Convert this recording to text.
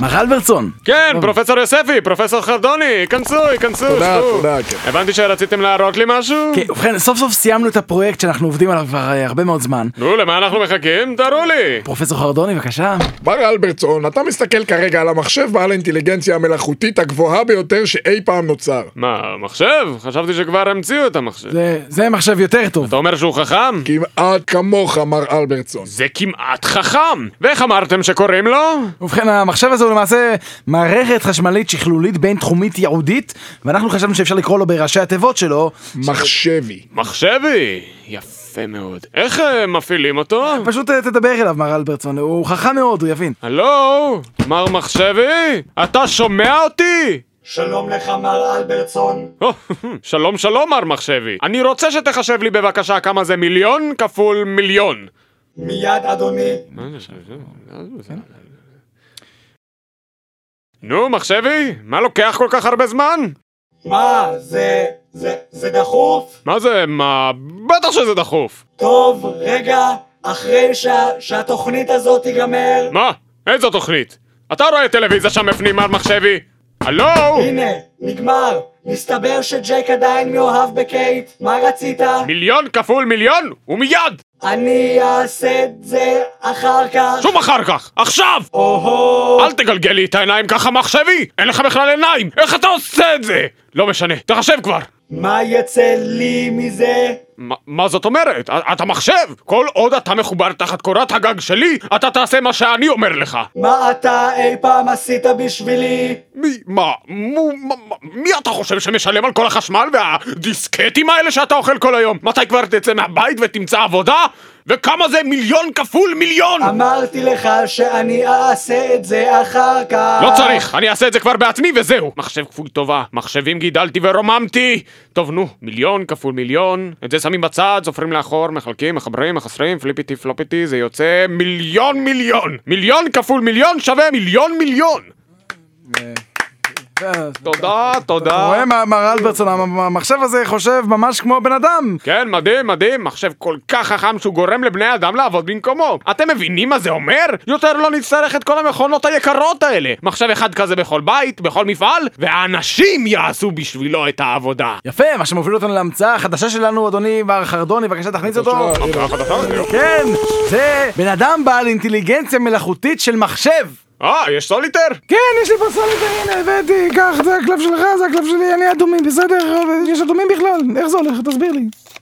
מר אלברטסון, כן, פרופסור יוספי, פרופסור חרדוני, כנסו, כנסו, תודה, שבו. תודה, כן. הבנתי שרציתם להראות לי משהו? כן, ובכן סוף סוף סיימנו את הפרויקט שאנחנו עובדים עליו כבר אה, הרבה מאוד זמן. נו, למה אנחנו מחכים? תראו לי. פרופסור חרדוני בבקשה. בר אלברטסון, אתה מסתכל כרגע על המחשב בעל האינטליגנציה המלאכותית הגבוהה ביותר שאי פעם נוצר. מה, מחשב? חשבתי שכבר המציאו את המחשב. זה- זה מחשב יותר טוב. אתה אומר שהוא חכם? כן. כמעט כמוך, מר אלברטסון. זה כמעט חכם! ואיך אמרתם שקוראים לו? ובכן, המחשב הזה הוא למעשה מערכת חשמלית שכלולית בינתחומית ייעודית, ואנחנו חשבנו שאפשר לקרוא לו בראשי התיבות שלו. מחשבי. מחשבי! יפה מאוד. איך אה, מפעילים אותו? פשוט אה, תדבר אליו, מר אלברטסון, הוא חכם מאוד, הוא יבין. הלו? מר מחשבי? אתה שומע אותי? שלום לך מר אלברטסון. או, שלום שלום מר מחשבי. אני רוצה שתחשב לי בבקשה כמה זה מיליון כפול מיליון. מיד אדוני. נו מחשבי? מה לוקח כל כך הרבה זמן? מה זה? זה זה דחוף? מה זה מה? בטח שזה דחוף. טוב, רגע, אחרי שה- שהתוכנית הזאת תיגמר. מה? איזו תוכנית? אתה רואה טלוויזיה שם בפנים מר מחשבי? הלו? הנה, נגמר. מסתבר שג'ק עדיין מאוהב בקייט. מה רצית? מיליון כפול מיליון? ומיד! אני אעשה את זה אחר כך. שום אחר כך! עכשיו! או-הו. אל תגלגל לי את העיניים ככה מחשבי! אין לך בכלל עיניים! איך אתה עושה את זה? לא משנה, תחשב כבר! מה יצא לי מזה? מה- מה זאת אומרת? א- אתה מחשב! כל עוד אתה מחובר תחת קורת הגג שלי, אתה תעשה מה שאני אומר לך! מה אתה אי פעם עשית בשבילי? מי, מה, מו, מה, מה- מי אתה חושב שמשלם על כל החשמל והדיסקטים האלה שאתה אוכל כל היום? מתי כבר תצא מהבית ותמצא עבודה? וכמה זה מיליון כפול מיליון? אמ- אמרתי לך שאני אעשה את זה אחר כך. לא צריך, אני אעשה את זה כבר בעצמי וזהו. מחשב כפול טובה, מחשבים גידלתי ורוממתי. טוב נו, מיליון כפול מיליון, את זה שמים בצד, סופרים לאחור, מחלקים, מחברים, מחסרים, פליפיטי פלופיטי, זה יוצא מיליון מיליון. מיליון כפול מיליון שווה מיליון מיליון. תודה, אתה תודה. אה, רואה, מר- מר אלברטסון, המ- המחשב הזה חושב ממש כמו בן אדם. כן, מדהים, מדהים, מחשב כל כך חכם שהוא גורם לבני אדם לעבוד במקומו. אתם מבינים מה זה אומר? יותר לא נצטרך את כל המכונות היקרות האלה. מחשב אחד כזה בכל בית, בכל מפעל, והאנשים יעשו בשבילו את העבודה. יפה, מה שמוביל אותנו להמצאה החדשה שלנו, אדוני מר חרדוני, בבקשה תכניס אותו. כן, זה בן אדם בעל אינטליגנציה מלאכותית של מחשב. אה, יש סוליטר? כן, יש לי פה סולד, הנה, הבאתי, קח, זה הקלף שלך, זה הקלף שלי, אני אדומים, בסדר? יש אדומים בכלל? איך זה הולך? תסביר לי.